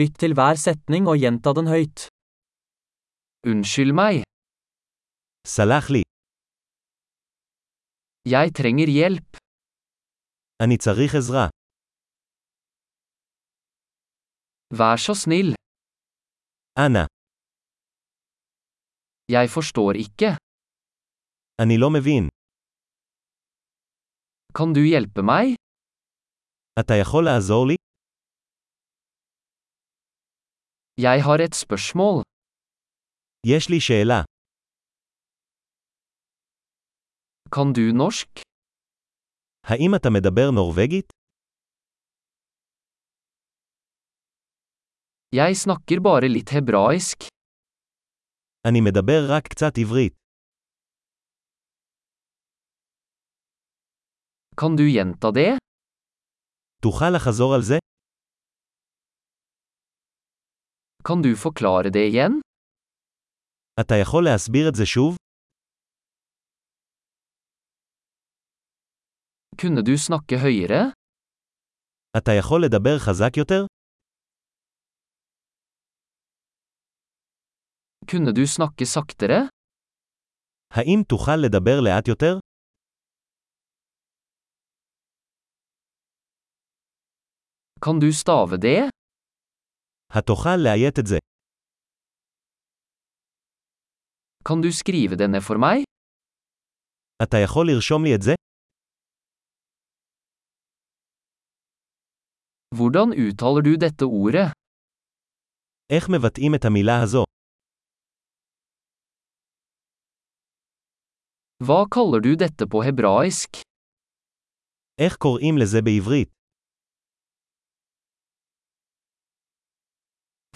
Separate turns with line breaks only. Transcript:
Lytt til hver setning og gjenta den høyt. Unnskyld meg,
סלח לי,
jeg trenger hjelp.
אני צריך עזרה.
Vær så snill,
אנא,
jeg forstår ikke.
אני לא מבין.
Kan du hjelpe meg?
אתה יכול לעזור לי?
Jeg har et spørsmål.
יש לי שאלה.
Kan du norsk?
האם אתה מדבר נורבגית?
Jeg snakker bare litt hebraisk.
אני מדבר רק קצת עברית.
Kan du gjenta det?
תוכל לחזור על זה?
Kan du forklare det igjen?
אתה יכול להסביר את זה שוב?
Kunne du snakke høyere?
אתה יכול לדבר חזק יותר?
Kunne du snakke saktere?
האם תוכל לדבר לאט יותר?
Kan du stave det?
התוכל לאיית את זה.
Kan du skrive det ned for meg?
אתה יכול לרשום לי את זה?
Hvordan uttaler du dette ordet?
איך מבטאים את המילה הזו?
Hva kaller du dette på hebraisk?
איך קוראים לזה בעברית?